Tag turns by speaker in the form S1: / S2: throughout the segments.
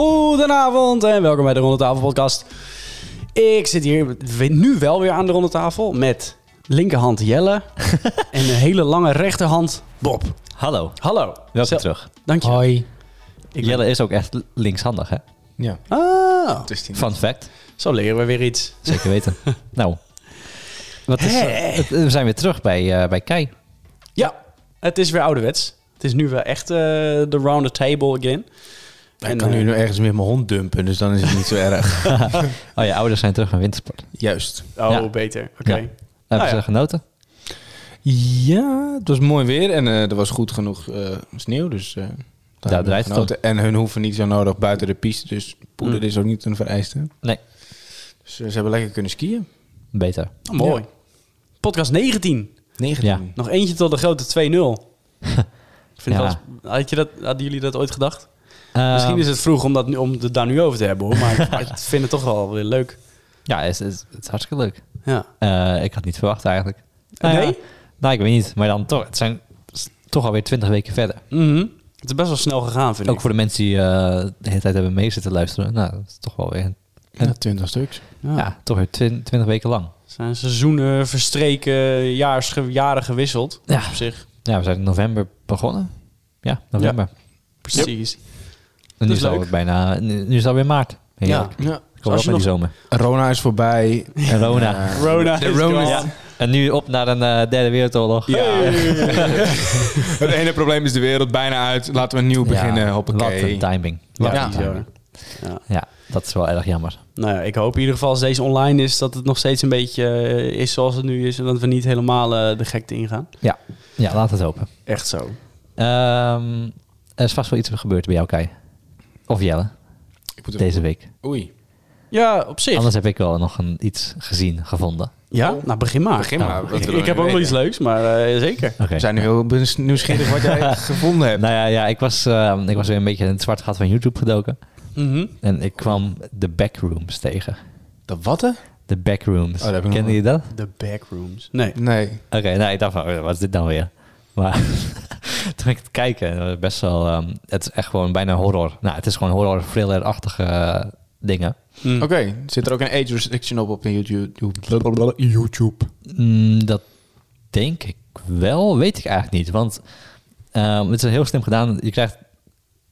S1: Goedenavond en welkom bij de Ronde Tafel podcast. Ik zit hier nu wel weer aan de Ronde Tafel met linkerhand Jelle en een hele lange rechterhand Bob.
S2: Hallo,
S1: Hallo.
S2: welkom
S1: Zo-
S2: terug.
S1: Dank je.
S3: Hoi.
S1: Ik ben-
S2: Jelle is ook echt linkshandig, hè?
S3: Ja.
S1: Ah,
S4: Dus die
S2: Fun fact,
S1: zo leren we weer iets.
S2: zeker weten. nou, wat is,
S1: Hey.
S2: het- we zijn weer terug bij, eh, bij Kai.
S1: Ja, het is weer ouderwets. Het is nu wel echt eh, de round the table again.
S4: ik kan
S1: eh,
S4: nu nog ergens meer mijn hond dumpen, dus dan is het niet zo erg.
S2: Oh, je ouders zijn terug van wintersport.
S4: Juist.
S1: Oh,
S2: Ja.
S1: beter. Oké.
S2: Ja. Hebben
S1: Nou ja.
S2: ze genoten?
S4: Ja, het was mooi weer en eh, er was goed genoeg eh, sneeuw, dus... eh, daar hebben we
S2: draait het
S4: genoten. En hun hoeven niet zo nodig buiten de piste, dus poeder
S1: Mm.
S4: is ook niet een vereiste.
S2: Nee,
S4: Dus eh, ze hebben lekker kunnen skiën.
S2: beter.
S1: Oh, mooi. Podcast 19.
S4: 19.
S2: Ja.
S1: Nog eentje tot de grote 2-0. Ik vind het
S2: Ja.
S1: wel eens- had je dat, hadden jullie dat ooit gedacht?
S2: Ehm,
S1: Misschien is het vroeg om, dat, nu- om het daar nu over te hebben, hoor. Maar ik- ik vind het toch wel weer leuk.
S2: Ja, het is, het is, het is hartstikke leuk.
S1: Ja.
S2: Eh, ik had niet verwacht eigenlijk.
S1: Nee?
S2: Nou ja, nou, ik weet niet. Maar dan toch, het zijn s- toch alweer twintig weken verder.
S1: Mhm. Het is best wel snel gegaan, vind
S2: Ook
S1: ik.
S2: voor de mensen die eh, de hele tijd hebben mee zitten luisteren. Nou, dat is toch wel weer,
S4: Ja, 20 stuks.
S1: Ja.
S2: ja, toch weer twintig weken lang.
S1: Er zijn seizoenen verstreken, jaars, ge- jaren gewisseld.
S2: Ja.
S1: Op zich.
S2: Ja, we zijn in november begonnen. Ja, november.
S1: Precies.
S2: En
S1: Dat
S2: nu
S1: is
S2: is het
S1: leuk.
S2: alweer bijna, nu nu is het alweer maart. Heerlijk. Ik
S4: Ja.
S2: hoor
S1: Dus Als
S2: op
S1: je
S2: met die zomer.
S4: Rona is voorbij.
S2: En Rona.
S4: Eh,
S1: Rona
S4: de
S1: is
S4: Rona.
S1: gone.
S2: En nu op naar een eh, derde wereldoorlog.
S4: Het ene probleem is de wereld bijna uit. Laten we nieuw beginnen.
S2: Wat
S4: Hoppakee.
S2: een timing. Wat
S1: Ja,
S2: een
S4: Ja.
S1: bizar.
S2: timing. Ja, dat is wel erg jammer.
S1: Nou ja, ik hoop in ieder geval als deze online is dat het nog steeds een beetje eh, is zoals het nu is. En dat we niet helemaal eh, de gekte ingaan.
S2: Ja, laat het hopen.
S1: Echt zo.
S2: Ehm, er is vast wel iets gebeurd bij jou, Kai. Of Jelle,
S4: Ik moet even-
S2: deze week.
S4: Oei.
S1: Ja, op zich.
S2: Anders heb ik wel nog een, iets gezien, gevonden.
S1: Ja, nou begin maar.
S4: Begin
S2: Nou,
S4: maar. wat
S1: ik,
S4: willen we
S1: ik heb
S4: nu
S1: ook wel
S4: weten?
S1: iets leuks, maar eh, zeker.
S2: Oké.
S4: We zijn nu heel bes- nieuwsgierig wat jij gevonden hebt.
S2: Nou ja, ja ik, was, eh, ik was weer een beetje in het zwart gat van YouTube gedoken.
S1: Mhm.
S2: En ik kwam de backrooms tegen.
S4: De watten?
S2: De backrooms.
S4: Oh, dat heb ik nog
S2: Kennen
S4: nooit.
S2: jullie dat?
S1: De backrooms. Nee.
S4: Nee.
S2: Oké, nou, ik dacht van, eh, wat is dit dan weer? Maar toen ging ik het kijken, en dat was best wel, ehm, het is echt gewoon bijna horror. Nou, het is gewoon horror, thriller-achtige eh, dingen.
S1: Hm.
S4: Oké, zit er ook een age restriction op op de YouTube? YouTube.
S2: Mm, dat denk ik wel, weet ik eigenlijk niet. Want ehm, het is heel slim gedaan. Je krijgt,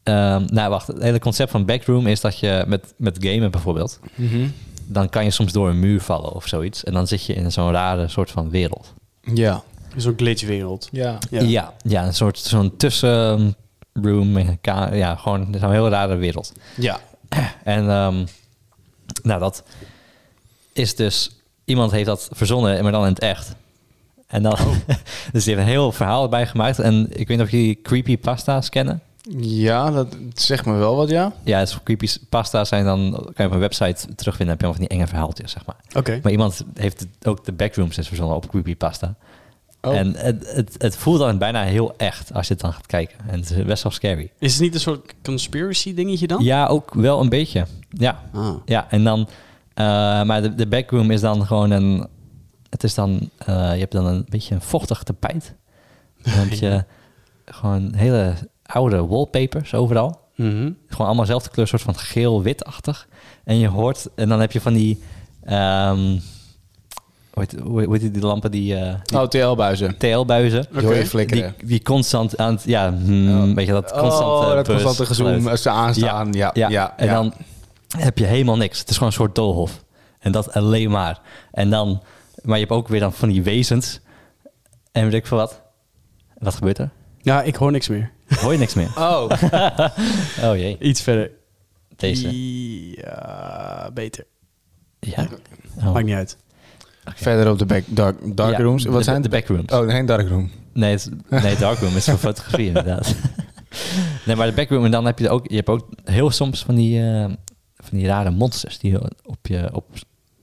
S2: ehm, nou wacht, het hele concept van backroom is dat je met, met gamen bijvoorbeeld,
S4: Mhm.
S2: dan kan je soms door een muur vallen of zoiets. En dan zit je in zo'n rare soort van wereld.
S4: Ja.
S1: Zo'n glitchwereld.
S4: Ja.
S1: Ja.
S2: Ja, ja, een soort zo'n tussenroom. en ka- Ja, gewoon zo'n heel rare wereld.
S4: Ja.
S2: En ehm, nou, dat is dus... Iemand heeft dat verzonnen, maar dan in het echt. En dan... dus die heeft een heel verhaal erbij gemaakt. En ik weet niet of jullie creepypasta's kennen.
S4: Ja, dat zegt me wel wat, ja.
S2: Ja, dus creepypasta's zijn dan... Kan je op een website terugvinden. Dan heb je allemaal van die enge verhaaltjes, zeg maar.
S1: Oké.
S2: Maar iemand heeft het- ook de backrooms dus verzonnen op creepypasta.
S4: Oh.
S2: En het, het, het voelt dan bijna heel echt als je het dan gaat kijken. En het is best wel scary.
S1: Is het niet een soort conspiracy dingetje dan?
S2: Ja, ook wel een beetje. Ja,
S1: Ah.
S2: ja en dan... eh, maar de, de backroom is dan gewoon een... Het is dan... eh, je hebt dan een beetje een vochtig tapijt. Dan heb je gewoon hele oude wallpapers overal.
S1: Mhm.
S2: Gewoon allemaal dezelfde kleur, soort van geel-witachtig. En je hoort... En dan heb je van die... ehm hoe heet- hoe hoe heet die- die lampen? Die, eh die
S4: Oh, OTL-buizen.
S2: TL-buizen.
S4: Die hoor je flikkeren.
S2: Die, die constant aan het... Ja, hmm,
S4: Oh.
S2: weet je, dat constante...
S4: oh, dat
S2: buzz-
S4: constante
S2: geluid.
S4: gezoom als ze aanstaan. Ja, ja, ja.
S2: En dan heb je helemaal niks. Het is gewoon een soort doolhof. En dat alleen maar. En dan, maar je hebt ook weer dan van die wezens. En weet ik veel wat. Wat gebeurt er?
S1: Ja, ik hoor niks meer.
S2: Hoor je niks meer?
S4: Oh,
S2: Oh jee.
S1: Iets verder.
S2: Deze.
S1: Ja, beter.
S2: Ja. Oh,
S1: Maakt niet uit.
S4: verder op de back, dark, dark
S2: Ja,
S4: rooms. Wat
S2: de-
S4: zijn
S2: de backrooms?
S4: Oh, geen dark room.
S2: Nee, het, is- nee, Darkroom is voor fotografie inderdaad. Nee, maar de backroom. En dan heb je ook, je hebt ook heel soms van die, eh, van die rare monsters die op je, op,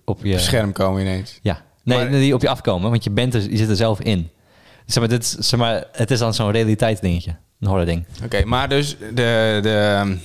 S2: op je
S4: Scherm komen ineens.
S2: Ja. Nee,
S4: Maar-
S2: nee, die op je afkomen, want je, bent er, je zit er zelf in. Zeg maar, dit, is- zeg maar, het is dan zo'n realiteit dingetje. Een horror ding.
S4: Oké, maar dus de, de... ehm,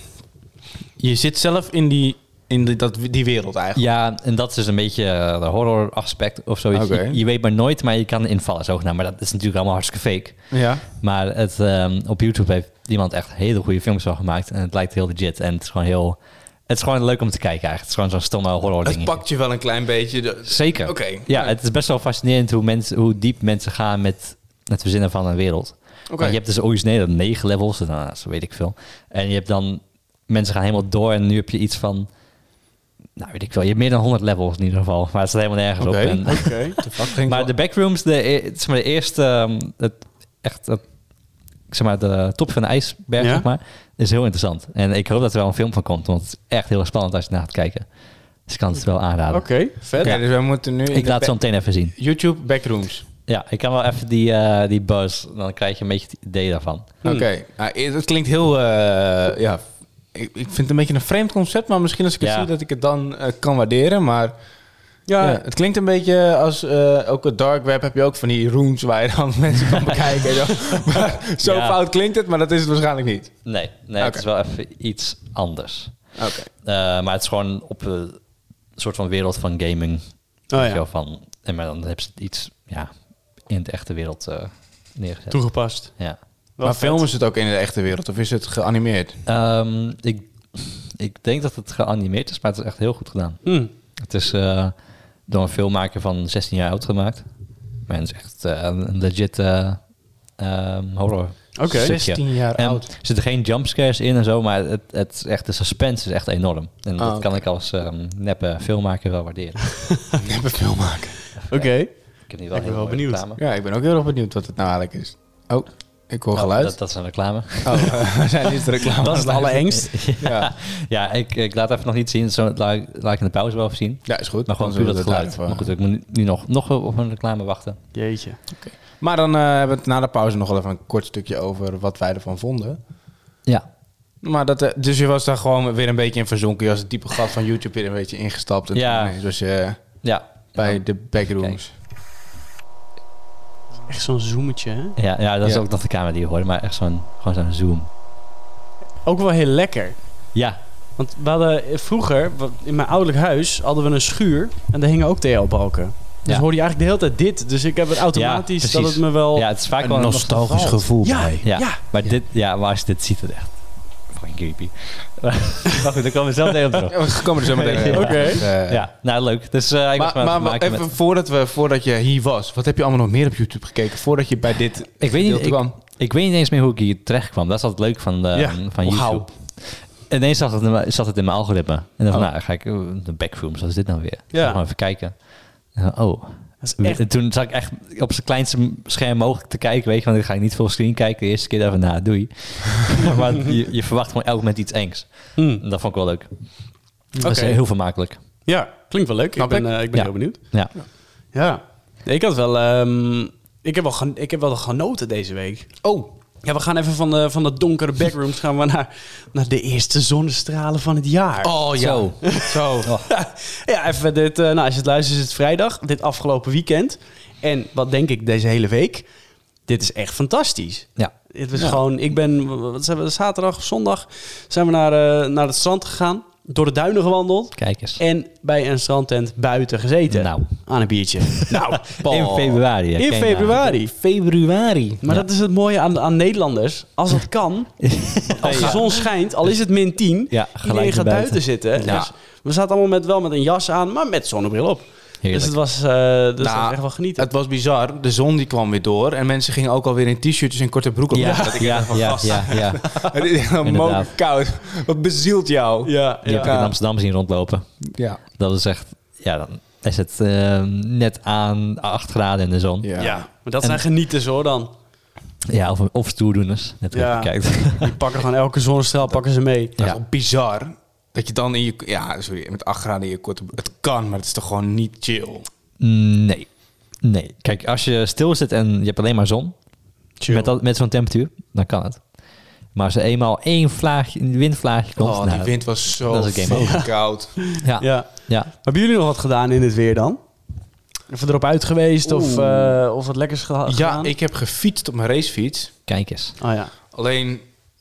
S4: Je zit zelf in die, in die, dat, die wereld eigenlijk.
S2: Ja, en dat is dus een beetje eh, de horror aspect of zoiets.
S4: Oké.
S2: Je, je weet maar nooit, maar je kan invallen zogenaamd. Maar dat is natuurlijk allemaal hartstikke fake.
S4: Ja.
S2: Maar het, ehm, op YouTube heeft iemand echt hele goede films van gemaakt. En het lijkt heel legit. En het is gewoon heel... Het is gewoon leuk om te kijken eigenlijk. Het is gewoon zo'n stomme horror
S3: Het
S2: ding.
S3: pakt je wel een klein beetje. de-
S2: Zeker.
S3: Oké.
S2: Ja, het is best wel fascinerend hoe, mensen, hoe diep mensen gaan met het verzinnen van een wereld.
S3: Oké.
S2: Want je hebt dus origineel negen levels, dus, nou, zo weet ik veel. En je hebt dan, mensen gaan helemaal door en nu heb je iets van, nou weet ik veel, je hebt meer dan 100 levels in ieder geval. Maar het staat helemaal nergens
S4: Oké.
S2: op. En-
S1: Oké.
S2: maar de backrooms, de, e- het is maar de eerste, ehm, het, echt, het- ik zeg maar, de top van de ijsberg,
S1: Ja.
S2: zeg maar, is heel interessant. En ik hoop dat er wel een film van komt, want het is echt heel spannend als je naar gaat kijken. Dus ik kan het wel aanraden.
S1: Oké, vet.
S4: Oké, dus we moeten nu... in
S2: Ik
S4: de
S2: laat het zo
S4: ba-
S2: meteen even zien.
S4: YouTube backrooms.
S2: Ja, ik kan wel even die, eh, die buzz. Dan krijg je een beetje het idee daarvan.
S1: Hmm.
S4: Oké, nou, dat klinkt heel... eh, ja, ik, ik vind het een beetje een vreemd concept, maar misschien als ik het
S2: Ja.
S4: zie dat ik het dan eh, kan waarderen. Maar ja.
S1: Ja,
S4: het klinkt een beetje als eh, ook het dark web heb je ook van die rooms waar je dan mensen kan bekijken. Zo, maar, zo
S2: Ja.
S4: fout klinkt het, maar dat is het waarschijnlijk niet.
S2: Nee, nee het
S4: Oké.
S2: is wel even iets anders.
S4: Oké.
S2: Eh, maar het is gewoon op een soort van wereld van gaming. Weet je
S1: Oh, ja.
S2: wel, Van, en maar dan heb ze het iets ja, in de echte wereld eh, neergezet.
S1: toegepast.
S2: Ja.
S1: Wel
S4: maar
S1: vet.
S4: filmen ze het ook in de echte wereld of is het geanimeerd?
S2: Ehm, ik, ik denk dat het geanimeerd is, maar het is echt heel goed gedaan.
S1: Hm.
S2: Het is eh, door een filmmaker van 16 jaar oud gemaakt. Maar het is echt eh, een legit eh, ehm, horror.
S1: Oké.
S2: stukje.
S4: 16 jaar
S2: En
S4: oud.
S2: Er zitten geen jumpscares in en zo, maar het, het is echt, de suspense is echt enorm. En dat
S4: Ah, oké.
S2: kan ik als ehm, neppe filmmaker wel waarderen.
S4: Neppe filmmaker.
S1: Oké.
S2: Ik heb nu wel
S1: Ik ben
S2: heel
S1: wel
S2: mooie
S1: benieuwd.
S2: reclame.
S4: Ja, ik ben ook heel erg benieuwd wat het nou eigenlijk is. Oh, ik hoor
S2: Oh,
S4: geluid.
S2: dat, dat is een reclame.
S4: Oh, we zijn niet de reclame.
S1: Dat is het allerengst.
S4: Ja.
S2: ja, ik, ik laat even nog niet zien. Zo, laat, laat ik in de pauze wel even zien.
S4: ja, is goed.
S2: Maar gewoon
S4: Dan
S2: puur
S4: zullen
S2: dat
S4: we
S2: geluid.
S4: daar
S2: Maar
S4: even-
S2: nou, goed, ik moet nu- nu nog, nog op een reclame wachten.
S1: Jeetje.
S4: Maar dan eh, hebben we het na de pauze nog wel even een kort stukje over wat wij ervan vonden.
S2: Ja,
S4: Maar dat, eh, dus je was daar gewoon weer een beetje in verzonken. Je was het diepe gat van YouTube weer een beetje ingestapt. En
S2: Ja.
S4: toen ineens was je eh,
S2: ja.
S4: bij
S2: Ja.
S4: de backrooms.
S1: Echt zo'n zoometje, hè?
S2: Ja, ja dat is
S4: Ja.
S2: ook nog de camera die je hoort, maar echt zo'n, gewoon zo'n zoom.
S1: Ook wel heel lekker.
S2: Ja,
S1: Want we hadden eh, vroeger, wat- in mijn ouderlijk huis, hadden we een schuur. En daar hingen ook TL-balken. Dus
S2: Ja.
S1: hoorde je eigenlijk de hele tijd dit. Dus ik heb het automatisch
S2: precies.
S1: dat het me wel...
S2: ja het is vaak wel een
S4: gevoel
S1: Ja. bij.
S2: Ja,
S1: Ja.
S2: Maar, Dit, ja, maar als je dit ziet, het echt fucking creepy. maar goed, daar komen we zelf tegen op terug.
S4: we komen er zo meteen
S1: Oké.
S4: Eh,
S2: Ja, nou leuk. Dus eh, ik was
S4: Maar,
S2: maar aan
S4: maar
S2: het maken
S4: even
S2: met-
S4: voordat, we, voordat je hier was, wat heb je allemaal nog meer op YouTube gekeken voordat je bij dit
S2: ik, weet niet,
S4: gedeelte
S2: ik,
S4: kwam?
S2: ik weet niet eens meer hoe ik hier terecht kwam. Dat is altijd leuk van, de,
S1: Ja,
S2: van
S4: wauw.
S2: YouTube. Ineens zat het, in mijn- zat het in mijn algoritme. En dan van,
S4: Oh.
S2: nou, dan ga ik eh, de backrooms, wat is dit nou weer?
S1: Ja.
S2: Gewoon even kijken. En dan, oh,
S1: Dat is echt...
S2: En toen zat ik echt op zijn kleinste scherm mogelijk te kijken, weet je, want dan ga ik niet veel screen kijken. De eerste keer daarvan, nou, doei. maar je, je verwacht gewoon elk moment iets engs.
S1: Hm.
S2: En dat vond ik wel leuk. Dat is
S1: Oké.
S2: heel vermakelijk.
S1: Ja, klinkt wel leuk. Ik
S4: Snap
S1: ben,
S4: ik.
S1: eh, ik ben
S2: Ja.
S1: heel benieuwd.
S2: Ja.
S1: Ja. Nee, Ik had wel... ehm, ik, heb wel gen- ik heb wel genoten deze week.
S4: Oh,
S1: Ja, we gaan even van de, van de donkere backrooms gaan we naar, naar de eerste zonnestralen van het jaar.
S4: oh ja.
S2: Zo. Oh.
S4: Zo.
S1: Ja, even dit. eh, nou, als je het luistert, is het vrijdag. Dit afgelopen weekend. En wat denk ik deze hele week? Dit is echt fantastisch.
S2: Ja.
S1: Het was
S4: Ja.
S1: gewoon. Ik ben. Wat zijn we? Zaterdag of zondag zijn we naar, eh, naar het strand gegaan. Door de duinen gewandeld.
S2: Kijk eens.
S1: En bij een strandtent buiten gezeten.
S2: Nou.
S1: Aan een biertje. nou,
S2: In
S1: Paul.
S2: februari. hè,
S1: In
S2: ken je nou.
S1: februari.
S4: Februari.
S1: Maar
S2: Ja.
S1: dat is het mooie aan, aan Nederlanders. Als het kan, als de zon schijnt, al is het min 10,
S2: Ja,
S1: iedereen
S2: gelijk
S1: gaat buiten,
S2: naar buiten.
S1: zitten.
S4: Ja.
S1: Dus we zaten allemaal met, wel met een jas aan, maar met zonnebril op.
S2: Heerlijk.
S1: Dus het was, eh, dus dat
S4: Nou,
S1: was echt wel genieten.
S4: Het was bizar. De zon die kwam weer door. En mensen gingen ook alweer in t-shirtjes en korte broeken.
S2: ja,
S4: lopen. Dat
S2: ja, ja, ja, ja,
S4: Het is helemaal
S2: Inderdaad.
S4: mogelijk koud. Wat bezielt jou?
S1: ja,
S2: Die heb ik in Amsterdam zien rondlopen.
S4: Ja.
S2: Dat is echt, ja, dan is het eh, net aan 8 graden in de zon. Ja,
S4: Ja.
S1: ja. maar dat zijn genieters hoor dan.
S2: of, of stoerdoeners. Net
S1: Ja.
S2: even kijkt.
S1: Die pakken gewoon elke zonnestraal, pakken ze mee.
S4: Dat
S2: Ja.
S4: is wel bizar. Dat je dan in je... Ja, sorry. Met 8 graden in je korte broek. Het kan, maar het is toch gewoon niet chill.
S2: Nee. Nee. Kijk, als je stil zit en je hebt alleen maar zon, met, dat, met zo'n temperatuur, dan kan het. Maar als er eenmaal één vlaag, een windvlaagje komt,
S4: Oh,
S2: nou,
S4: die wind was zo
S2: dat is een game
S4: fucking koud.
S2: Ja, ja.
S1: Ja. Hebben jullie nog wat gedaan in het weer dan? Of erop uit geweest of,
S4: Oeh.
S1: eh, of wat lekkers geha-
S4: Ja,
S1: gedaan?
S4: ik heb gefietst op mijn racefiets.
S2: kijk eens.
S1: Oh ja.
S4: Alleen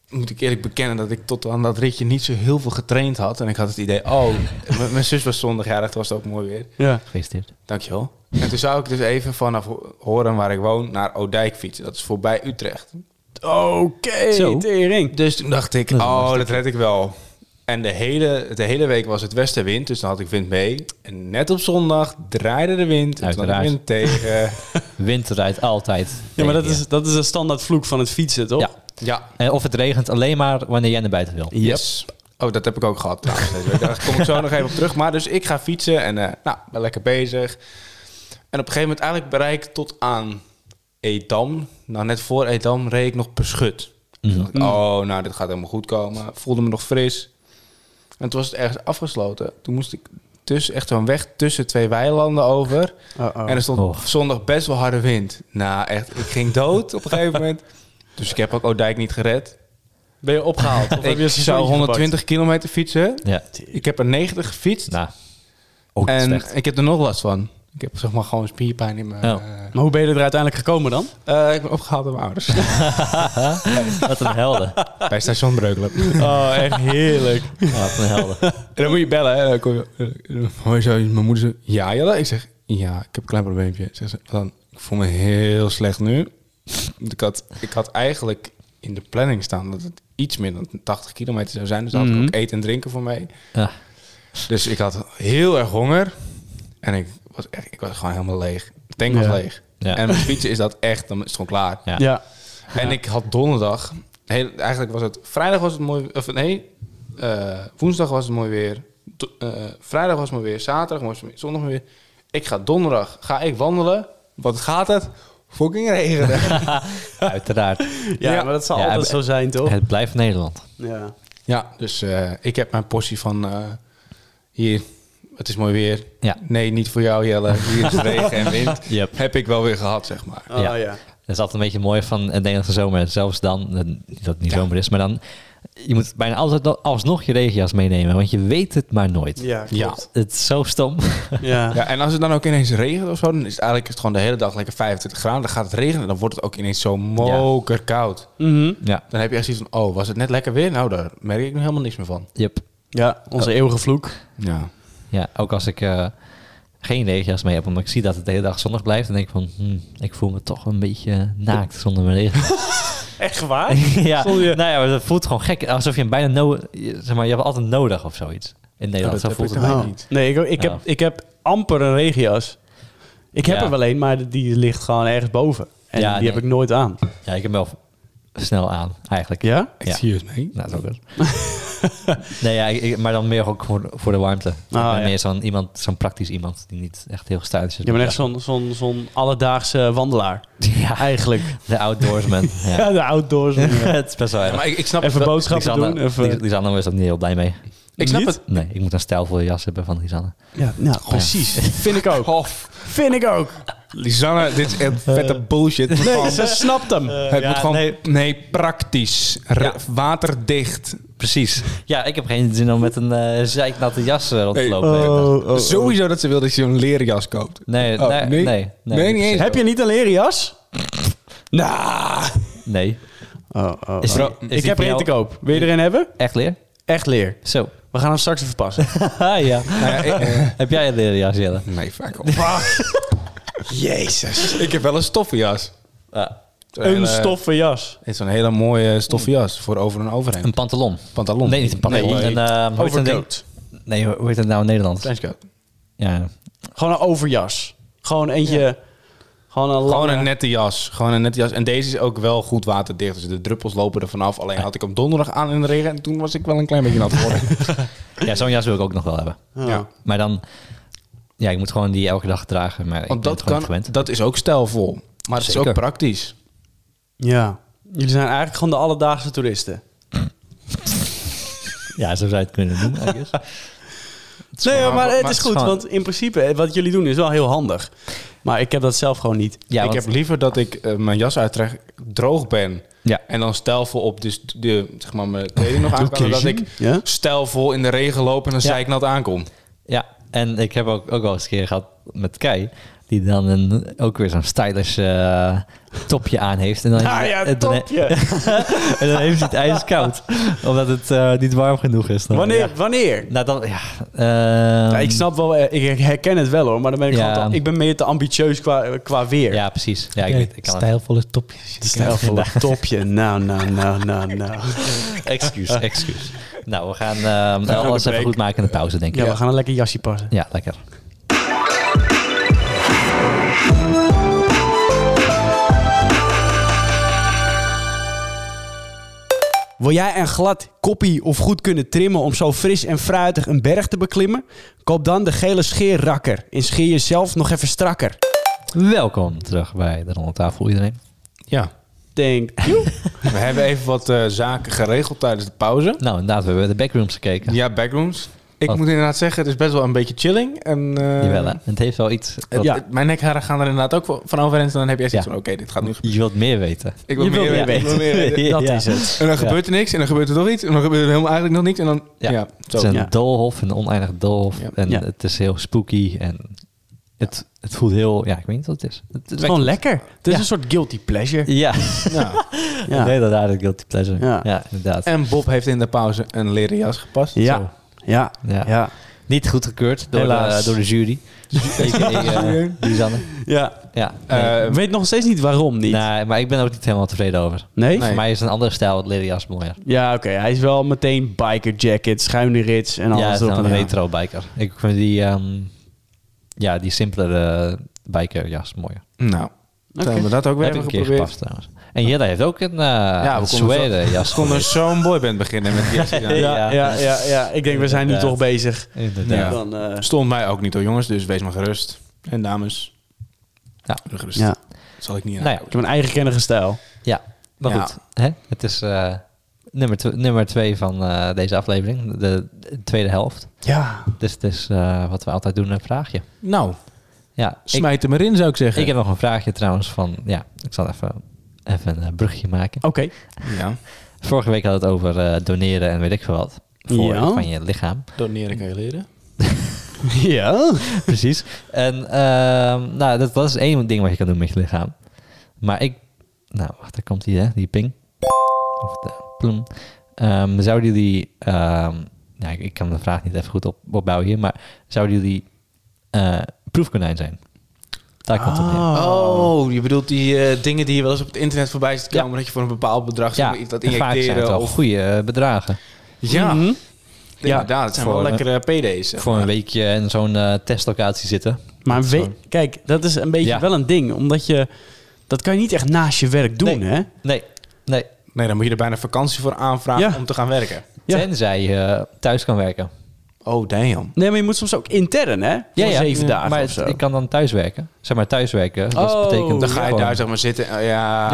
S4: moet ik eerlijk bekennen dat ik tot aan dat ritje niet zo heel veel getraind had. En ik had het idee, oh, m- mijn zus was zondagjarig, het was ook mooi weer.
S1: Ja.
S2: Gefeliciteerd.
S4: Dankjewel. En toen zou ik dus even vanaf Ho- Horen, waar ik woon, naar Oudijk fietsen. Dat is voorbij Utrecht.
S1: Oké,
S2: Zo.
S1: tering.
S4: Dus toen dacht ik,
S2: Dat is
S4: oh,
S2: lastig.
S4: dat red ik wel. En de hele, de hele week was het westenwind, dus dan had ik wind mee. En net op zondag draaide de wind. En toen had ik
S2: Uiteraard.
S4: wind tegen.
S2: Wind rijdt altijd.
S1: Ja, maar dat
S2: tegen je.
S1: is, dat is een standaard vloek van het fietsen, toch?
S2: Ja.
S4: ja,
S2: En of het regent alleen maar wanneer jij naar buiten wil.
S4: yes. Oh, dat heb ik ook gehad trouwens. deze week. Daar kom ik zo nog even op terug. Maar dus ik ga fietsen en eh, nou, ben lekker bezig. En op een gegeven moment eigenlijk bereik ik tot aan Edam. Nou, net voor Edam reed ik nog per schut. Dus dacht ik, oh, nou, dit gaat helemaal goed komen. Voelde me nog fris. En toen was het ergens afgesloten. Toen moest ik dus echt zo'n weg tussen twee weilanden over.
S1: Uh-oh.
S4: En er stond
S2: Oh.
S4: zondag best wel harde wind. Nou, echt, ik ging dood op een gegeven moment. Dus ik heb ook Oudijk niet gered.
S1: Ben je opgehaald? Of heb
S4: ik
S1: je een
S4: zou
S1: seizoentje
S4: 120 kilometer fietsen.
S2: Ja.
S4: Ik heb er 90 gefietst.
S2: Nou. Ook
S4: en
S2: slecht.
S4: ik heb er nog last van. Ik heb zeg maar gewoon spierpijn in mijn...
S2: Oh.
S4: eh,
S1: gepakt? Maar hoe ben je er uiteindelijk gekomen dan?
S4: eh, ik ben opgehaald door mijn ouders.
S2: Wat een helden.
S4: Bij station Breukelen.
S1: Oh, echt heerlijk.
S2: Wat een helden.
S4: En dan moet je bellen. Hè. Dan kom je, eh, dan hoor je zo, mijn moeder zo, ja Jelle? Ik zeg, ja, ik heb een klein probleempje. Zeg ze, dan, ik voel me heel slecht nu. Want Ik had, ik had eigenlijk in de planning staan dat het iets meer dan 80 kilometer zou zijn. Dus daar had
S1: Mhm.
S4: ik ook eten en drinken voor mij.
S2: Ja.
S4: Dus ik had heel erg honger. En ik was, echt, ik was gewoon helemaal leeg. De tank was
S1: Ja.
S4: leeg.
S2: Ja.
S4: En met fietsen is dat echt, dan is het gewoon klaar.
S2: Ja.
S1: Ja.
S4: En ik had donderdag. Heel, eigenlijk was het. Vrijdag was het mooi. Of nee. eh, woensdag was het mooi weer. Do- eh, vrijdag was het mooi weer. Zaterdag was het mooi- zondag mooi weer. Ik ga donderdag. Ga ik wandelen. Wat gaat het? Fucking regenen.
S2: Uiteraard.
S1: Ja,
S4: Ja.
S1: maar dat zal
S2: Ja,
S1: altijd
S2: maar-
S1: zo zijn, toch?
S2: Het blijft Nederland.
S1: Ja.
S4: ja, dus eh, ik heb mijn portie van. eh, hier. Het is mooi weer.
S2: Ja.
S4: Nee, niet voor jou, Jelle. Hier is regen en wind.
S2: Yep.
S4: Heb ik wel weer gehad, zeg maar.
S1: Oh, ja.
S2: Ja. Dat is altijd een beetje mooi van het Nederlandse zomer. Zelfs dan, eh, niet dat het niet zomer is, maar dan... Je moet bijna altijd al- alsnog je regenjas meenemen, want je weet het maar nooit.
S1: Ja,
S4: Ja.
S1: klopt.
S2: Het is zo stom.
S1: Ja.
S4: Ja, en als het dan ook ineens regent of zo, dan is het eigenlijk is het gewoon de hele dag lekker 25 graden. Dan gaat het regenen, dan wordt het ook ineens zo mokerkoud.
S1: Mhm.
S2: ja.
S4: Dan heb je echt iets van, oh, was het net lekker weer? Nou, daar merk ik nu helemaal niks meer van.
S2: Yep.
S1: ja onze eeuwige vloek.
S4: Ja.
S2: Ja, ook als ik eh, geen regenjas mee heb, omdat ik zie dat het de hele dag zonnig blijft, dan denk ik van, hmm, ik voel me toch een beetje naakt zonder mijn regen.
S1: Echt waar?
S2: ja,
S1: Zonder je-
S2: nou ja, maar dat voelt gewoon gek. Alsof je hem bijna no je- zeg maar, je hebt altijd nodig of zoiets. In Nederland,
S4: Oh, dat
S2: zo voelt
S4: heb
S2: het. mij.
S4: ik Wij
S1: Oh.
S4: niet.
S1: Nee, ik, ik,
S2: Ja.
S1: heb, ik heb amper een regenjas. Ik heb
S2: Ja.
S1: er wel een, maar die ligt gewoon ergens boven. En
S2: Ja,
S1: die
S2: nee.
S1: heb ik nooit aan.
S2: Ja, ik heb hem wel snel aan, eigenlijk.
S1: Ja?
S4: Ik
S2: Ja.
S4: zie het mee.
S2: Nou, dat is ook wel. nee, ja, ik- ik- maar dan meer ook voor, voor de warmte.
S1: Ah,
S2: En
S1: ja.
S2: Meer zo'n iemand, zo'n praktisch iemand die niet echt heel stuit is.
S1: Je bent echt zo'n zo'n zo'n alledaagse wandelaar.
S2: Ja,
S1: Eigenlijk.
S2: de outdoorsman.
S1: Ja,
S2: ja.
S1: de outdoors.
S2: het is best wel erg.
S4: maar ik, ik snap
S1: Even
S4: het wel.
S1: boodschappen
S2: Lisanne-
S1: doen. Even,
S2: Lis- Lisanne is er niet heel blij mee.
S4: Ik snap
S1: Niet?
S4: het.
S2: Nee, ik moet een stijlvolle jas hebben van Lisanne.
S1: ja, nou, precies. Vind ik ook.
S4: Hof.
S1: Vind ik ook.
S4: Lisanne, dit is echt vette bullshit. Het moet
S1: Nee,
S4: gewoon-
S1: ze snapt hem.
S4: het
S2: Eh. ja,
S4: moet gewoon... Nee,
S2: nee.
S4: praktisch. Re-
S2: Ja. Oh,
S4: Waterdicht.
S2: Precies. Ja, ik heb geen zin om met een eh zeiknatte jas eh, rond te
S4: Nee.
S2: lopen.
S1: Oh.
S4: oh,
S1: Dus
S4: Sowieso dat ze wil dat je een leren jas koopt.
S2: oh. Nee,
S4: Oh,
S2: nee,
S4: nee?
S2: nee, nee,
S4: Nee, niet eens.
S1: Heb je niet een leren jas? Nou.
S2: Nee.
S4: Oh,
S2: Is die- is die
S1: Ik heb
S2: voor
S1: er één
S2: jou
S1: te koop. Wil je er een hebben?
S2: Echt leer?
S1: Echt leer.
S2: Zo.
S1: We gaan hem straks even passen.
S2: Ah, ja.
S4: Nou ja, ik- eh,
S2: heb jij een leren jas, Jelle?
S4: nee, vaak op.
S1: Jezus.
S4: Ik heb wel een stoffenjas.
S2: Ja.
S4: Zo'n
S1: Een
S4: hele-
S1: stoffen jas.
S4: Het is zo'n hele mooie stoffenjas voor over en overheen.
S2: Een pantalon.
S4: Pantalon.
S2: Nee, niet een pantalon.
S4: Nee,
S2: een, eh, hoe heet dat ding?
S1: Overcoat.
S2: Nee, hoe heet dat nou in Nederland?
S4: Trenchcoat.
S2: Ja.
S1: Gewoon een overjas. Gewoon eentje. Gewoon een
S4: Gewoon
S1: lange...
S4: een nette jas. Gewoon een nette jas. En deze is ook wel goed waterdicht. Dus de druppels lopen er vanaf. Alleen had ik hem donderdag aan in de regen. En toen was ik wel een klein beetje nat geworden.
S2: ja, zo'n jas wil ik ook nog wel hebben.
S1: Ja.
S4: ja.
S2: Maar dan... Ja, ik moet gewoon die elke dag dragen. Maar ik
S4: Want
S2: ben
S4: dat,
S2: het gewoon
S4: kan,
S2: niet gewend.
S4: dat is ook stijlvol. Maar het is
S2: Zeker.
S4: ook praktisch.
S1: Ja. Jullie zijn eigenlijk gewoon de alledaagse toeristen.
S2: Ja, zo zou je het kunnen noemen, I guess. Het is
S1: Nee,
S2: gewoon-
S1: maar het
S2: maar
S1: is goed.
S2: gewoon-
S1: Want in principe, eh, wat jullie doen is wel heel handig. Maar ik heb dat zelf gewoon niet.
S2: Ja,
S4: ik
S2: want-
S4: heb liever dat ik eh, mijn jas uittrek, droog ben.
S2: Ja.
S4: En dan stijlvol op dus de, zeg maar, mijn kleding nog aan kan. Dat ik
S1: Ja?
S4: stijlvol in de regen loop en dan
S2: Ja.
S4: zeiknat aankom.
S2: Ja, en ik heb ook, ook wel eens een keer gehad met Kai. Die dan een, ook weer zo'n stylish eh, topje aan heeft. En dan,
S1: Ah ja,
S2: en dan-
S1: topje.
S2: en dan heeft hij het ijskoud. Omdat het eh, niet warm genoeg is. Dan.
S1: Wanneer? Wanneer?
S2: Nou, dan, ja, ehm,
S1: Ja, ik snap wel, eh, ik herken het wel hoor, maar dan ben ik
S2: Ja.
S1: gewoon te- ik ben meer te ambitieus qua, eh, qua weer.
S2: Ja, precies. Ja, ik,
S3: Kijk,
S2: weet- ik kan het.
S3: stijlvolle topjes.
S1: Het is een stijlvol topje. Nou, nou, nou, nou, nou.
S2: Excuus, excuus. Nou, we gaan ehm
S1: naar de
S2: alles even
S1: break.
S2: goed maken in de pauze, denk ik.
S1: Ja, we gaan een lekker jasje passen.
S2: Ja, lekker.
S1: Wil jij een glad koppie of goed kunnen trimmen om zo fris en fruitig een berg te beklimmen? Koop dan de gele scheerrakker en scheer jezelf nog even strakker.
S2: Welkom terug bij de Ronde Tafel, iedereen.
S4: Ja.
S1: Denk,
S4: We hebben even wat eh, zaken geregeld tijdens de pauze.
S2: Nou, inderdaad, we hebben de backrooms
S4: Ja,
S2: gekeken.
S4: backrooms. Ik
S2: Wat?
S4: moet inderdaad zeggen, het is best wel een beetje chilling. En, eh,
S2: Jawel, hè? Het heeft wel iets...
S4: het-
S2: wat-
S1: Ja.
S4: het- Mijn nekharen gaan er inderdaad ook wel van overheen. Dan heb je echt iets
S2: Ja.
S4: van, oké, dit gaat nu gebeuren.
S2: Je wilt meer weten.
S4: Ik wil
S1: Je wilt
S4: meer
S1: meer
S4: weten. ik wil meer weten.
S1: dat
S2: Ja.
S1: is het.
S4: En dan
S2: Ja.
S4: gebeurt er niks, en dan gebeurt er toch iets, en dan gebeurt er helemaal eigenlijk nog niks. En dan,
S2: Ja.
S4: ja,
S2: Het
S4: zo.
S2: is een
S1: Ja.
S2: doolhof, een oneindig doolhof.
S4: Ja.
S2: En
S1: Ja.
S2: het is heel spooky en het, het voelt heel... Ja, ik weet niet wat het is. Het, het
S1: Het is
S2: werkt
S1: gewoon
S2: goed.
S1: lekker. Het is
S2: Ja.
S1: een soort guilty pleasure.
S2: Ja,
S4: Ja.
S1: Ja.
S2: nee, dat eigenlijk guilty pleasure. Ja,
S1: Ja.
S2: inderdaad.
S4: En Bob heeft in de pauze een leren jas gepast. Zo.
S1: Ja, ja,
S2: Ja.
S1: ja.
S2: Niet goedgekeurd door, de,
S1: Helaas.
S2: door de jury. A.k.a., eh, Lisanne.
S1: ja.
S2: Ja.
S4: Eh,
S1: Ik weet nog steeds niet waarom niet.
S2: nee, maar ik ben er ook niet helemaal tevreden over.
S1: Nee?
S4: Nee.
S2: Voor mij is een andere stijl het leren jas mooier.
S1: Ja, oké. Hij is wel meteen biker jacket, schuine rits en
S2: ja,
S1: alles
S2: het is
S1: erop
S2: een
S1: en eraan.
S2: retro biker. Ik vind die, ehm, ja, die simpelere biker jas mooier.
S4: nou, dan
S1: Oké.
S4: hebben we dat ook weer
S2: Heb ik
S4: even
S2: een keer
S4: geprobeerd.
S2: gepast trouwens. En Jelle heeft ook een, eh ja,
S4: Ja, we
S2: een
S4: konden zo-
S2: suede
S4: We
S2: jas.
S4: konden zo'n boyband beginnen met die jas. die aan.
S2: Ja.
S1: Ja, ja, ja, ja. Ik denk, we zijn nu
S2: Inderdaad.
S1: toch bezig.
S2: Inderdaad.
S1: Dan, eh,
S4: Stond mij ook niet hoor, jongens, dus wees maar gerust. En dames,
S2: Ja.
S4: doe gerust.
S1: ja.
S4: Zal ik niet aan.
S2: Nou ja.
S1: Ik heb een eigen kennige stijl.
S2: Ja, maar
S4: Ja.
S2: goed. Hè? Het is eh, nummer, tw- nummer twee van eh, deze aflevering. De, de tweede helft.
S1: Ja.
S2: Dus het is eh, wat we altijd doen, een vraagje.
S4: Nou,
S2: Ja, ik,
S4: smijt hem erin zou ik zeggen.
S2: ik heb nog een vraagje trouwens van... Ja, ik zal even, even een eh, brugje maken.
S1: Oké.
S4: Ja,
S2: Vorige week hadden we het over eh, doneren en weet ik veel wat. Voor,
S1: Ja.
S2: Van je lichaam.
S4: doneren kan je leren.
S1: Ja.
S2: Precies. En ehm, nou, dat, dat is één ding wat je kan doen met je lichaam. Maar ik... Nou, wacht, daar komt die, hè? Die ping. Of de ploem. Ehm, zouden jullie... ehm, nou, ik, ik kan de vraag niet even goed op, opbouwen hier, maar... Zouden jullie eh, proefkonijn zijn? Daar komt het neer.
S1: Ah.
S4: Oh, je bedoelt die eh, dingen die je wel eens op het internet voorbij ziet komen... dat je voor een bepaald bedrag zeg
S2: Ja,
S4: maar, iets dat
S2: en vaak zijn het
S4: injecteren
S2: wel
S4: of...
S2: goede eh, bedragen.
S4: Ja,
S1: Mhm.
S4: inderdaad. Het zijn
S2: Voor
S4: wel
S2: een-
S4: lekkere PD's. zeg
S2: Voor een
S4: maar.
S2: weekje in zo'n eh, testlocatie zitten.
S1: Maar we- kijk, dat is een beetje
S2: Ja.
S1: wel een ding. Omdat je... Dat kan je niet echt naast je werk doen,
S2: Nee.
S1: hè?
S2: Nee, nee.
S4: Nee, dan moet je er bijna vakantie voor aanvragen
S1: Ja.
S4: om te gaan werken.
S1: Ja.
S2: Tenzij je eh, thuis kan werken.
S4: Oh, damn.
S1: Nee, maar je moet soms ook intern, hè? Voor zeven dagen
S2: maar
S1: of zo.
S2: het- ik kan dan thuis werken. Zeg maar thuis werken. Dat
S1: Oh.
S2: betekent
S4: Dan ga je
S2: gewoon-
S4: daar zeg maar zitten. en, oh, ja,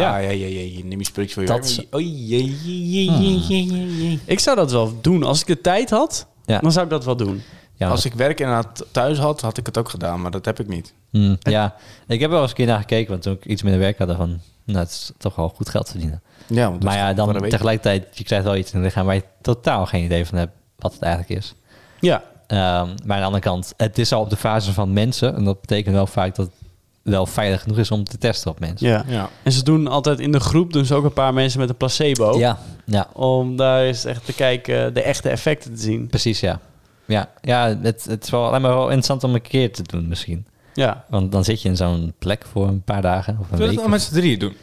S2: Ja.
S4: ja, ja, ja, ja, neem je spulletjes voor je
S2: Dat
S4: werk.
S2: is-
S4: Oh, jee, jee, jee, jee, jee, jee, jee.
S1: Ik zou dat wel doen. Als ik de tijd had,
S2: Ja.
S1: dan zou ik dat wel doen.
S2: Ja,
S4: Als ik werk inderdaad thuis had, had ik het ook gedaan, maar dat heb ik niet.
S2: Hmm, ja, ik heb wel eens een keer naar gekeken. Want toen ik iets minder werk had, dacht ik van... Nou, het is toch wel goed geld verdienen.
S4: Ja, dus- want dat
S2: maar
S4: is
S2: ja,
S4: gewoon
S2: dan
S4: een week.
S2: tegelijkertijd... Je krijgt wel iets in het lichaam waar je totaal geen idee van hebt wat het eigenlijk is.
S1: Ja.
S2: Ehm, maar aan de andere kant, het is al op de fase van mensen. En dat betekent wel vaak dat het wel veilig genoeg is om te testen op mensen.
S1: ja.
S4: Ja.
S1: En ze doen altijd in de groep, doen ze ook een paar mensen met een placebo.
S2: ja, ja,
S1: Om daar eens echt te kijken, de echte effecten te zien.
S2: precies ja. Ja, ja het, het is wel, lijkt me wel interessant om een keer te doen misschien.
S1: Ja.
S2: Want dan zit je in zo'n plek voor een paar dagen of een
S4: Zullen we
S2: week.
S4: dat nou met z'n drieën doen?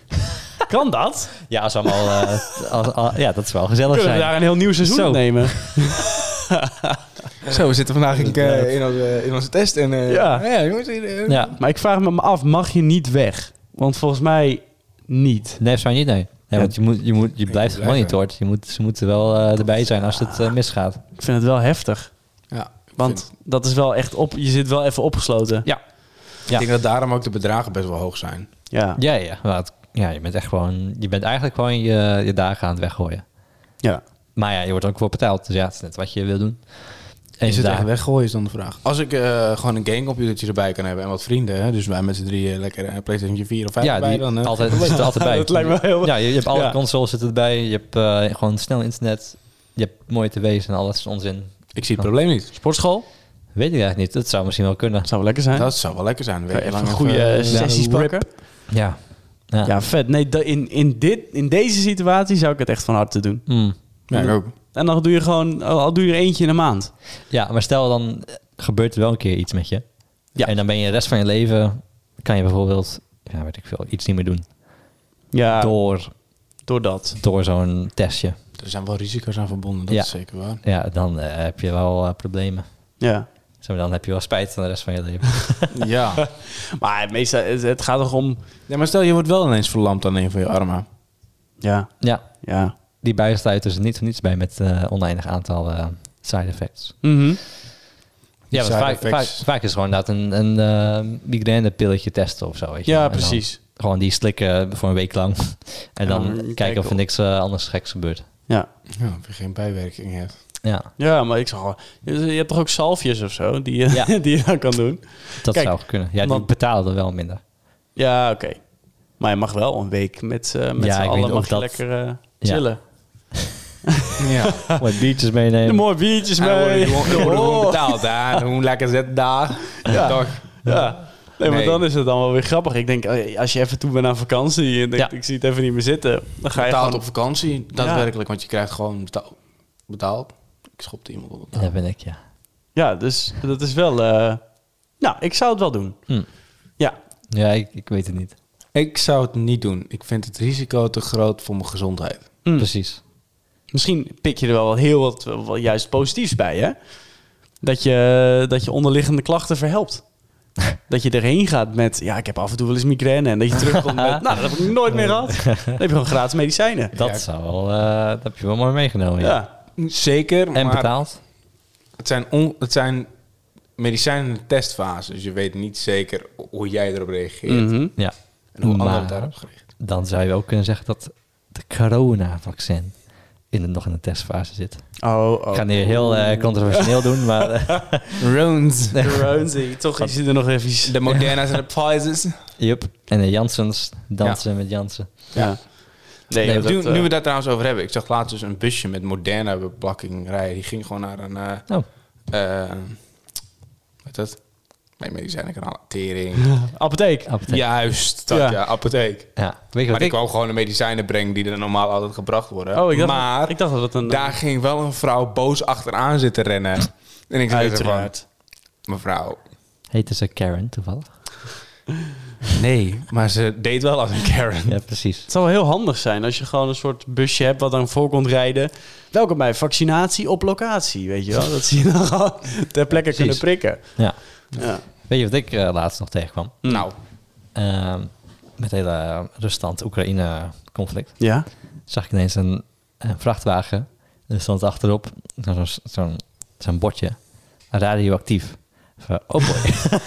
S1: Kan dat?
S2: Ja, als we allemaal, eh, als- al- ja, dat is wel gezellig
S1: Kunnen we
S2: zijn.
S1: daar een heel nieuw seizoen
S2: Zo.
S1: op nemen?
S4: Zo, we zitten vandaag in, eh, in, onze, in onze test. En, eh,
S1: Ja.
S4: ja, jongens. eh,
S2: Ja,
S1: Maar ik vraag me af, mag je niet weg? Want volgens mij niet.
S2: nee, zou niet, nee. nee Want je, moet, je, moet, je blijft
S4: moet blijven.
S2: gemonitord. Je moet, ze moeten wel eh, erbij zijn als het eh,
S4: Ah.
S2: misgaat.
S1: Ik vind het wel heftig.
S4: ja, ik
S1: Want
S4: vind-
S1: dat is wel echt op. Je zit wel even opgesloten.
S2: Ja.
S4: ik denk dat daarom ook de bedragen best wel hoog zijn.
S1: Ja.
S2: Ja, ja. Maar het- ja je, bent echt gewoon, je bent eigenlijk gewoon je, je dagen aan het weggooien.
S1: ja.
S2: Maar ja, je wordt er ook voor betaald. Dus ja, het is net wat je wil doen. En
S4: Is het
S2: daar-
S4: echt weggooien is dan de vraag. Als ik eh, gewoon een gamecomputertje erbij kan hebben en wat vrienden, hè, dus wij met z'n drieën lekker een PlayStation 4 of 5
S2: Ja,
S4: erbij,
S2: die
S4: dan... eh,
S2: altijd, die zitten altijd bij.
S1: Dat lijkt me heel-
S2: Ja, je, je hebt alle
S1: Ja.
S2: consoles zitten erbij. Je hebt eh, gewoon snel internet. Je hebt mooie tv's en alles onzin.
S4: Ik zie het probleem niet.
S1: Sportschool?
S2: Weet ik eigenlijk niet. Dat zou misschien wel kunnen.
S1: Dat zou wel lekker zijn.
S4: Dat zou wel lekker zijn.
S1: Kan
S4: Weet
S1: je
S4: je
S1: even
S4: lang
S1: een goede
S4: even-
S1: eh, sessies
S2: rip.
S1: pakken.
S2: Ja. Ja.
S1: Ja, vet. Nee, da- in, in, dit, in deze situatie zou ik het echt van harte doen.
S2: Mm.
S4: Ja, ik ook.
S1: En dan doe je gewoon, al doe je er eentje in een maand.
S2: Ja, maar stel dan eh, gebeurt er wel een keer iets met je.
S1: Ja.
S2: En dan ben je de rest van je leven, kan je bijvoorbeeld, ja, weet ik veel, iets niet meer doen.
S1: Ja, door,
S2: Door,
S1: dat.
S2: door zo'n testje.
S4: Er zijn wel risico's aan verbonden, dat
S2: Ja.
S4: is zeker waar.
S2: Ja, dan eh, heb je wel eh, problemen.
S1: Ja.
S2: Zo, dan heb je wel spijt van de rest van je leven.
S4: ja.
S1: Maar meestal, het, het gaat toch om...
S4: ja, maar stel je wordt wel ineens verlamd aan een van je armen.
S1: Ja,
S2: ja,
S1: ja.
S2: die buis sluit dus niet voor niets bij met eh, oneindig aantal eh, side effects.
S1: Mhm.
S2: Ja, want
S4: side
S2: vaak, vaak,
S4: effects.
S2: vaak is gewoon dat een, een eh, migrainepilletje testen of zo. Weet je.
S1: Ja,
S2: En dan
S1: precies.
S2: Gewoon die slikken voor een week lang. en
S1: En
S2: dan,
S1: dan
S2: kijken
S1: kijken
S2: of er
S1: of-
S2: niks eh, anders geks gebeurt.
S1: Ja.
S4: Ja, of je geen bijwerking hebt.
S2: Ja,
S1: ja, maar ik zag al... Je, je hebt toch ook zalfjes of zo die, je-
S2: Ja.
S1: die je dan kan doen?
S2: dat
S1: Kijk,
S2: zou kunnen. Ja, die
S1: want-
S2: betalen er wel minder.
S1: Ja, oké. Maar je mag wel een week met, eh met
S2: Ja, ik
S1: z'n
S2: weet
S1: allen
S2: ook
S1: mag je
S2: dat-
S1: lekker eh, chillen.
S4: Ja.
S2: Wat biertjes
S1: De
S2: meenemen.
S1: mooie biertjes
S4: En dan worden
S1: mee.
S4: die gewoon- dan worden die
S1: Oh.
S4: gewoon betaald, hè. Hoe lekker zit daar.
S1: Ja.
S4: Toch?
S1: Ja. Nee, maar
S4: Nee.
S1: dan is het dan wel weer grappig. Ik denk, eh, als je even toe bent aan vakantie en denkt,
S2: Ja.
S1: ik zie het even niet meer zitten, dan ga je
S4: Betaald
S1: gewoon...
S4: op vakantie, daadwerkelijk. Want je krijgt gewoon betaal- betaald. Ik schopte iemand op
S2: Ja,
S4: het
S2: Dat ben ik, ja.
S1: Ja, dus dat is wel... eh, Nou, ik zou het wel doen.
S2: Hm.
S1: Ja.
S2: Ja, ik, ik weet het niet.
S4: Ik zou het niet doen. Ik vind het risico te groot voor mijn gezondheid.
S1: Hm.
S2: Precies.
S1: Misschien pik je er wel heel wat wel juist positiefs bij, hè? Dat je, dat je onderliggende klachten verhelpt. Dat je erheen gaat met, ja, ik heb af en toe wel eens migraine. En dat je terugkomt met, nou, dat heb ik nooit meer gehad. Dan heb je gewoon gratis medicijnen.
S2: Dat
S4: Ja.
S2: zou wel, eh, dat heb je wel mooi meegenomen. Ja.
S1: Ja,
S4: Zeker,
S2: En
S4: maar
S2: betaald.
S4: het zijn, on- het zijn medicijnen in de testfase. Dus je weet niet zeker hoe jij erop reageert.
S1: Mhm.
S2: Ja.
S4: En hoe anderen
S2: Maar-
S4: daarop gericht.
S2: Dan zou je ook kunnen zeggen dat de coronavaccin in de, nog in de testfase zit.
S1: Oh,
S2: Ik ga het nu heel eh, controversieel doen, maar eh,
S4: Rounds.
S1: Ronzi, eh, toch is hij er nog even.
S4: De Moderna's en de Pfizer's.
S2: Jup. En de Janssens, dansen met Janssen.
S1: Ja. Nee,
S2: Nee,
S1: dat,
S4: nu,
S1: eh,
S4: nu we daar trouwens over hebben. Ik zag laatst dus een busje met Moderna bepakking rijden. Die ging gewoon naar een... eh
S2: Oh,
S4: eh, hoe heet dat? Nee, medicijnenkanaal. Tering.
S1: apotheek.
S2: apotheek. Ja.
S4: Juist, dat ja,
S1: Ja,
S4: apotheek.
S2: Weet je
S4: Maar
S2: wat
S4: ik
S2: ik...
S4: kwam gewoon de medicijnen brengen die er normaal altijd gebracht worden.
S1: Oh, ik dacht,
S4: maar
S1: ik dacht dat het een.
S4: daar ging wel een vrouw boos achteraan zitten rennen. en ik zei van,
S1: uiteraard.
S4: mevrouw.
S2: Heette ze Karen toevallig?
S4: Nee, maar ze deed wel als een Karen.
S2: Ja, precies.
S1: Het zou wel heel handig zijn als je gewoon een soort busje hebt wat dan voor komt rijden. Welkom bij vaccinatie op locatie, weet je wel. Dat zie je dan gewoon ter plekke kunnen prikken.
S2: Ja.
S1: Ja.
S2: Weet je wat ik eh, laatst nog tegenkwam?
S4: Nou,
S2: Ehm, met het hele Rusland-Oekraïne-conflict.
S1: Ja?
S2: zag ik ineens een, een vrachtwagen. Er stond achterop zo'n zo'n zo'n bordje. Radioactief. Van, Oh boy.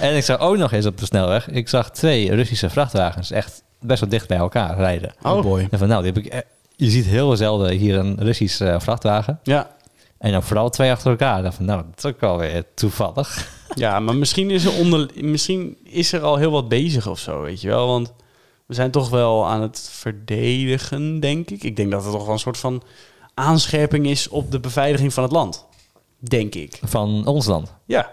S2: en ik zag ook nog eens op de snelweg. Ik zag twee Russische vrachtwagens echt best wel dicht bij elkaar rijden.
S1: Oh.
S4: boy.
S2: En van, nou, die heb ik, eh, je ziet heel zelden hier een Russisch eh, vrachtwagen.
S1: Ja.
S2: En dan vooral twee achter elkaar. Dan van, nou, dat is ook wel weer toevallig.
S1: ja, maar misschien is, er onder, misschien is er al heel wat bezig of zo, weet je wel. Want we zijn toch wel aan het verdedigen, denk ik. Ik denk dat het toch wel een soort van aanscherping is op de beveiliging van het land. Denk ik.
S2: Van ons land.
S1: Ja.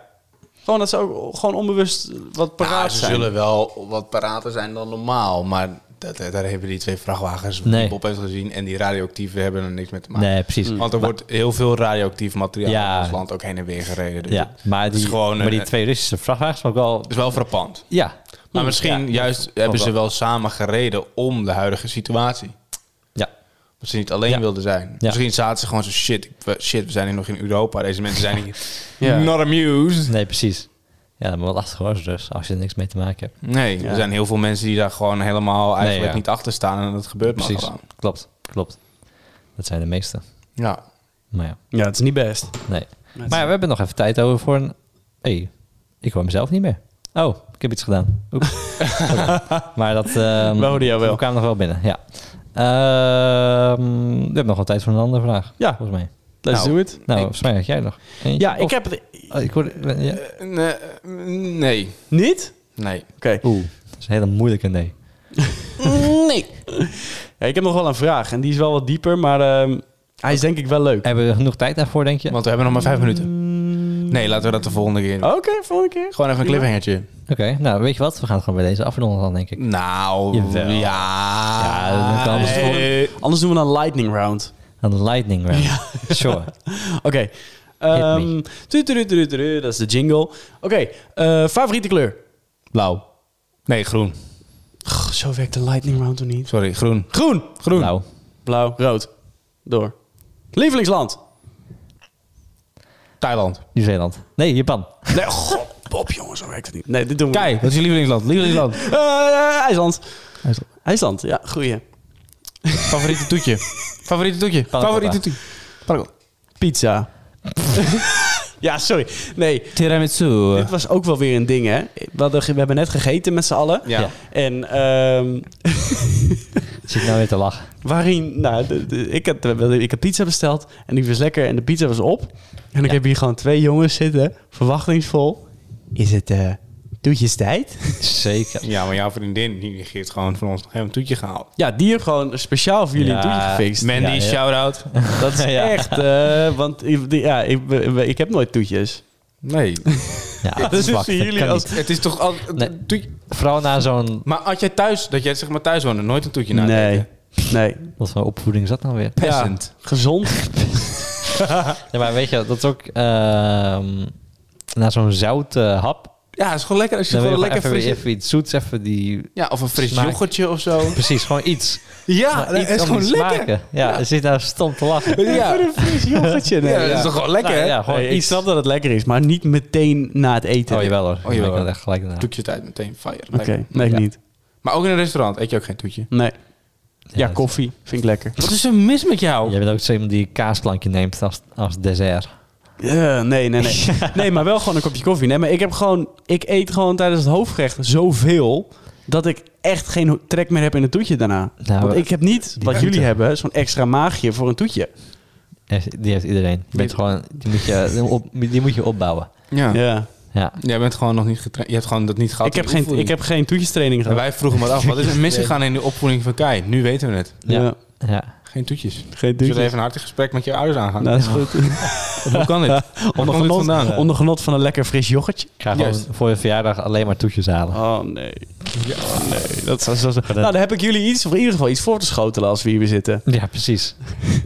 S1: Gewoon dat ze ook gewoon onbewust wat paraat
S4: nou, ze
S1: zijn.
S4: zullen wel wat parater zijn dan normaal. Maar dat, dat- daar hebben die twee vrachtwagens
S2: Nee.
S4: die Bob heeft gezien. En die radioactieve hebben er niks mee te maken.
S2: Nee, precies.
S1: Mm.
S4: Want er wordt heel veel radioactief materiaal
S2: Ja.
S4: in ons land ook heen en weer gereden. Dus
S2: Ja, maar
S4: het is
S2: die,
S4: gewoon
S2: maar die
S4: een-
S2: twee Russische vrachtwagens vond ik wel...
S4: het is wel frappant.
S2: Ja.
S4: Maar misschien
S2: Hmm, Ja.
S4: juist hebben ze wel samen gereden om de huidige situatie.
S2: Ja,
S4: Dat ze niet alleen
S2: Ja.
S4: wilden zijn. Misschien zaten ze gewoon zo shit, we, shit, we zijn hier nog in Europa. Deze mensen zijn hier
S1: Ja.
S4: not amused.
S2: Nee, precies. Ja, maar wat lastig was dus, als je er niks mee te maken hebt.
S4: Nee,
S1: Ja.
S4: er zijn heel veel mensen die daar gewoon helemaal eigenlijk
S2: ja.
S4: niet achter staan. En dat gebeurt maar
S2: Precies.
S4: gewoon.
S2: Klopt, klopt. Dat zijn de meeste.
S4: Ja.
S2: Maar ja,
S1: Ja, het is niet best.
S2: nee.
S1: Maar
S2: Maar ja, we hebben nog even tijd over voor een... hey, ik hoor mezelf niet meer. Oh, ik heb iets gedaan. Oeps. Oké. Maar dat... ehm,
S1: We hoorden jou wel.
S2: We kwamen nog wel binnen, ja. Ehm, we hebben nog wel tijd voor een andere vraag,
S1: Ja.
S2: volgens mij.
S1: Let's
S4: Nou,
S1: do it.
S2: Nou,
S1: Ik-
S2: volgens mij had jij nog. eentje.
S1: ja, ik
S2: Of-
S1: heb het...
S2: oh, ik hoorde... ja.
S4: Eh, nee, eh, nee.
S1: Niet?
S4: Nee.
S1: Oké.
S2: Oeh, dat is een hele moeilijke nee.
S1: Nee. Ja, ik heb nog wel een vraag. En die is wel wat dieper, maar ehm, hij is denk ik wel leuk.
S2: Hebben we genoeg tijd daarvoor, denk je? Mm.
S4: Want we hebben nog maar vijf minuten. Nee, laten we dat de volgende keer doen.
S2: Oh.
S1: Oké, volgende keer.
S4: Gewoon even een cliffhangertje.
S2: Oké, nou weet je wat? We gaan het gewoon bij deze afronden dan, denk ik.
S4: Nou,
S2: Jawel.
S4: ja.
S2: Ja, dat kan anders
S4: Nee.
S1: Anders doen we een lightning round.
S2: Een lightning round. Sure.
S1: Oké. Ehm, tu- tu- tu- tu- tu- dat is de jingle. Oké, eh, favoriete kleur?
S4: Blauw. Nee, groen.
S1: Goh, zo werkt de lightning round toch niet?
S4: Sorry, groen.
S1: Groen,
S4: Groen.
S2: Blauw.
S1: blauw, rood. Door. Lievelingsland?
S4: Thailand.
S2: Nieuw-Zeeland. Nee, Japan.
S1: Nee, god, Bob, jongen, zo werkt het niet. Nee, dit doen we
S4: Kei,
S1: niet.
S4: dat is je lievelingsland. Lievelingsland.
S1: Eh, IJsland. IJsland, ja, goeie.
S4: Favoriete toetje. Favoriete toetje. Favoriete toetje. Pannenkoek.
S1: Pizza. ja, sorry. Nee,
S2: Tiramisu.
S1: dit was ook wel weer een ding, hè? We, hadden, ge- we hebben net gegeten met z'n allen.
S4: Ja.
S2: Ja.
S1: En ehm,
S2: Zit nou weer te lachen.
S1: waarin, nou, de- de- ik, had, ik had pizza besteld en die was lekker en de pizza was op. En ik
S2: Ja.
S1: heb hier gewoon twee jongens zitten, verwachtingsvol. Is het eh toetjes tijd?
S2: Zeker.
S4: Ja, maar jouw vriendin die negeert gewoon van ons nog even een toetje gehaald.
S1: Ja, die heeft gewoon speciaal voor jullie
S2: Ja,
S1: een toetje gefixt.
S4: Mandy,
S2: Ja, ja.
S4: shout-out.
S1: Dat is
S2: Ja.
S1: echt, eh, want ik- die- ja, ik, we- we- ik heb nooit toetjes.
S4: Nee.
S2: Ja, dat
S1: Dus
S2: is
S1: voor
S2: zwak. Dat
S1: jullie
S2: kan
S1: als...
S2: niet.
S4: Het is toch al...
S2: Nee.
S4: toetje-
S2: Vooral na zo'n...
S4: Maar had jij thuis, dat jij zeg maar thuis woonde, nooit een toetje nadeed?
S1: Nee, nee.
S2: Wat voor opvoeding zat nou weer?
S4: Peasant.
S1: Gezond.
S2: Ja, maar weet je, dat is ook... ehm, na zo'n zout eh, hap...
S4: Ja, het is gewoon lekker als je
S2: Dan wil je
S4: gewoon
S2: lekker
S4: lekker
S2: even,
S4: fris...
S2: even iets zoets, even die...
S4: Ja, of een fris
S2: Smaak.
S4: yoghurtje of zo.
S2: Precies, gewoon iets.
S4: Ja,
S2: Maar
S4: Ah, dat
S2: iets
S4: is
S2: om
S4: gewoon
S2: te
S4: lekker. Oh,
S2: smaken. Ja, ze zit daar stom te lachen.
S4: Ja.
S1: Een fris yoghurtje. Nee,
S4: Ja, dat is toch gewoon lekker,
S2: Nou,
S4: hè?
S2: ja, gewoon
S1: Nee, ik
S2: iets.
S1: snap dat het lekker is, maar niet meteen na het eten.
S2: Oh, jawel hoor.
S4: Oh, jawel.
S2: Ik wil echt gelijk daarna.
S4: Toetje tijd meteen, fire.
S1: Oké,
S4: Lekker.
S1: nee, ik
S2: Ja.
S1: niet.
S4: Maar ook in een restaurant eet je ook geen toetje.
S1: Nee. Ja,
S2: dat-
S1: koffie vind ik lekker.
S4: Wat is er mis met jou?
S2: Jij bent ook zo iemand die een kaasplankje neemt als, als dessert.
S1: Eh, nee, nee, nee. Nee, maar wel gewoon een kopje koffie. Nee, maar ik heb gewoon... Ik eet gewoon tijdens het hoofdgerecht zoveel... dat ik echt geen ho- trek meer heb in het toetje daarna.
S2: Nou,
S1: Want
S2: we-
S1: ik heb niet, wat
S2: toeten.
S1: jullie hebben, zo'n extra maagje voor een toetje.
S2: Heeft- Die heeft iedereen. Je bent gewoon, die, moet je, op, die moet je opbouwen.
S4: Ja.
S1: Ja.
S2: Ja.
S4: Jij bent gewoon nog niet getraind. Je hebt gewoon dat niet gehad.
S1: Ik heb,
S4: in
S1: geen, ik
S4: opvoeding.
S1: heb geen toetjestraining
S4: En
S1: gehad.
S4: wij vroegen maar af, wat is er misgegaan in de opvoeding van Kai? Nu weten we het.
S2: Ja.
S1: Ja.
S2: ja.
S4: Geen toetjes.
S1: Geen
S4: Zullen we
S1: toetje.
S4: even een hartig gesprek met je ouders aangaan?
S1: Nou, dat is goed.
S4: Hoe kan dit? Waar
S1: Onder
S4: komt dit
S1: genot,
S4: vandaan?
S1: onder genot van een lekker fris yoghurtje.
S2: Ik ga gewoon
S4: Juist.
S2: voor je verjaardag alleen maar toetjes halen.
S1: Oh nee. Oh, nee. Dat zou zo, zo. Nou, dan heb ik jullie iets, of in ieder geval iets voor te schotelen als we hier weer zitten.
S2: Ja, precies.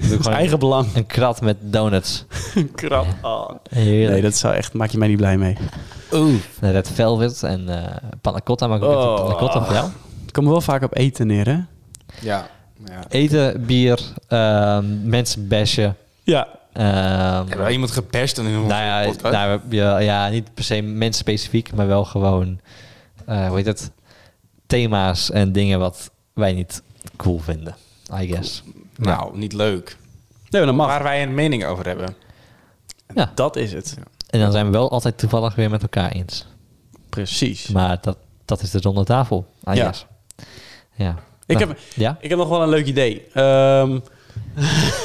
S2: Doe ik gewoon
S1: Eigen belang.
S2: een krat met donuts.
S1: Krap. Oh.
S2: Heerlijk.
S1: Nee, dat zou echt, maak je mij niet blij mee.
S4: Oeh.
S2: Met Red Velvet en eh panna cotta. Maar ik ook
S1: Oh.
S2: oh. panna cotta voor jou.
S1: Ik kom wel vaak op eten neer, hè?
S4: Ja. ja.
S2: Eten, bier, ehm mensen bashen.
S1: Ja.
S2: ehm,
S4: Hebben we iemand gepest in een
S2: nou ja,
S4: podcast?
S2: nou, heb je- ja, niet per se mensen specifiek, maar wel gewoon, eh hoe heet het, thema's en dingen wat wij niet cool vinden, I guess.
S4: nou, niet leuk.
S1: Nee, maar dat mag.
S4: Waar wij een mening over hebben.
S2: Ja,
S1: Dat is het.
S2: en dan zijn we wel altijd toevallig weer met elkaar eens.
S1: Precies.
S2: Maar dat, dat is de ronde tafel, I
S1: Ja.
S2: guess. Ja.
S1: Ik
S2: Nou,
S1: heb,
S2: Ja,
S1: ik heb nog wel een leuk idee. Ehm,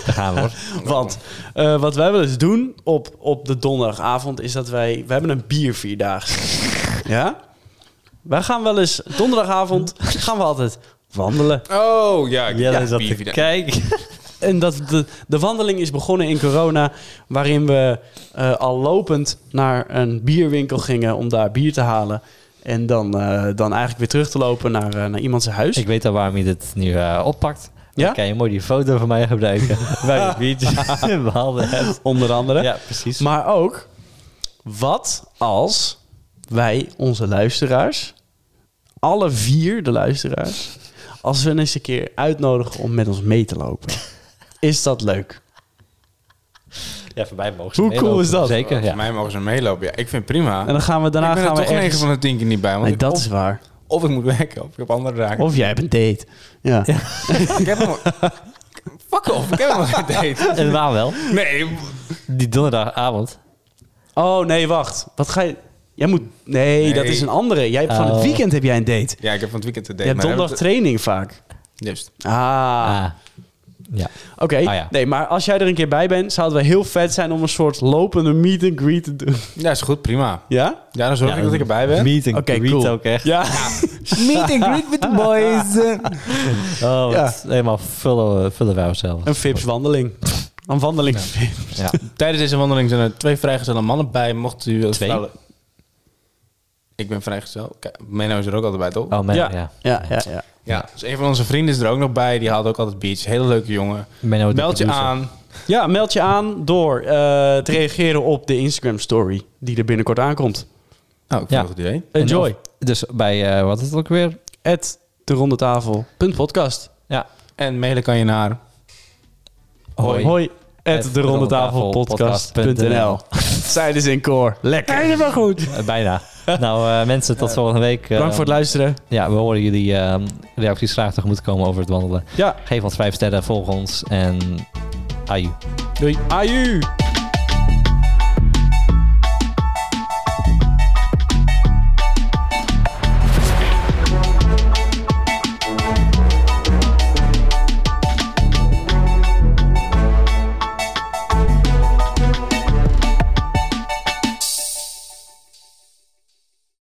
S2: daar gaan we hoor.
S1: want eh, wat wij wel eens doen op, op de donderdagavond is dat wij... We hebben een biervierdaagse. ja? Wij gaan wel eens... Donderdagavond gaan we altijd wandelen.
S4: Oh, ja. ik- ja, bier
S2: te
S4: wieder.
S2: kijken.
S1: En dat de, de wandeling is begonnen in corona, waarin we eh, al lopend naar een bierwinkel gingen om daar bier te halen. En dan, eh, dan eigenlijk weer terug te lopen naar, eh, naar iemand zijn huis.
S2: Ik weet al waarom je dit nu eh, oppakt.
S1: Ja?
S2: Dan kan je mooi die foto van mij gebruiken. bij de biertje. We hadden het.
S1: Onder andere.
S2: Ja, precies.
S1: Maar ook, wat als wij onze luisteraars, alle vier de luisteraars, als we hen eens een keer uitnodigen om met ons mee te lopen? Is dat leuk?
S2: Ja, voor mij mogen ze
S1: Hoe
S2: meelopen.
S1: cool is dat?
S2: Zeker,
S4: Voor
S2: ja.
S4: mij mogen ze meelopen. Ja, ik vind het prima.
S1: En dan gaan we daarna
S4: ik ben
S1: gaan
S4: er
S1: we
S4: toch 9
S1: ergens...
S4: van de 10 keer niet bij. Want
S1: Nee,
S4: ik-
S1: dat
S4: of,
S1: is waar.
S4: of ik moet werken, of ik heb andere raken.
S1: Of jij hebt een date. Ja.
S4: ik heb hem... Fuck off, ik heb hem al gedate.
S2: En waar wel?
S4: Nee,
S2: Die donderdagavond.
S1: Oh nee, wacht. Wat ga je. Jij moet. Nee,
S4: Nee.
S1: dat is een andere. Jij hebt van het
S2: Oh.
S1: weekend heb jij een date.
S4: Ja, ik heb van het weekend te
S1: Je
S4: date.
S1: hebt
S4: maar
S1: donderdag
S4: hebben
S1: training vaak.
S4: we- Juist.
S1: Ah,
S2: Ah. Ja.
S1: oké.
S2: Ah, ja.
S1: Nee, maar als jij er een keer bij bent, zou het wel heel vet zijn om een soort lopende meet and greet te doen.
S4: Ja, is goed, prima.
S1: Ja?
S4: Ja, dan zorg
S2: Ja,
S4: ik dat ik erbij ben.
S2: Meet and
S1: Oké,
S2: greet
S1: cool.
S2: ook echt.
S1: Ja.
S4: Meet and greet with the boys.
S2: Oh, wat helemaal vullen, vullen wij onszelf.
S1: Een Fips wandeling. Aan wandelingsfeer.
S2: Ja.
S4: Tijdens deze wandeling zijn er twee vrijgezelle mannen bij. Mocht u als
S2: Twee?
S4: vrouwen- Ik ben vrijgezel. Kijk, Menno is er ook altijd bij, toch?
S2: Oh man,
S1: Ja.
S2: ja.
S1: Ja, ja, ja.
S4: Ja. Dus een van onze vrienden is er ook nog bij. Die haalt ook altijd beach. Hele leuke jongen.
S2: Menno de
S4: Meld je
S2: producer.
S4: aan.
S1: Ja, meld je aan door eh, te reageren op de Instagram story die er binnenkort aankomt.
S4: Nou, ik vind
S2: Ja.
S4: het een goed idee.
S2: En
S1: Enjoy.
S2: of- Dus bij, eh, wat is het ook weer?
S1: At de ronde tafel. podcast.
S2: Ja.
S4: En mailen kan je naar...
S2: Hoi.
S1: Hoi. At de ronde tafel podcast.nl. Zijn dus in koor. Lekker. Helemaal goed.
S2: Eh, bijna. nou eh, mensen, tot volgende week. Eh,
S1: Bedankt voor het luisteren.
S2: Ja, we horen jullie eh, reacties graag tegemoet komen over het wandelen.
S1: Ja.
S2: Geef ons vijf sterren, volg ons en... Aju.
S1: Doei. Aju.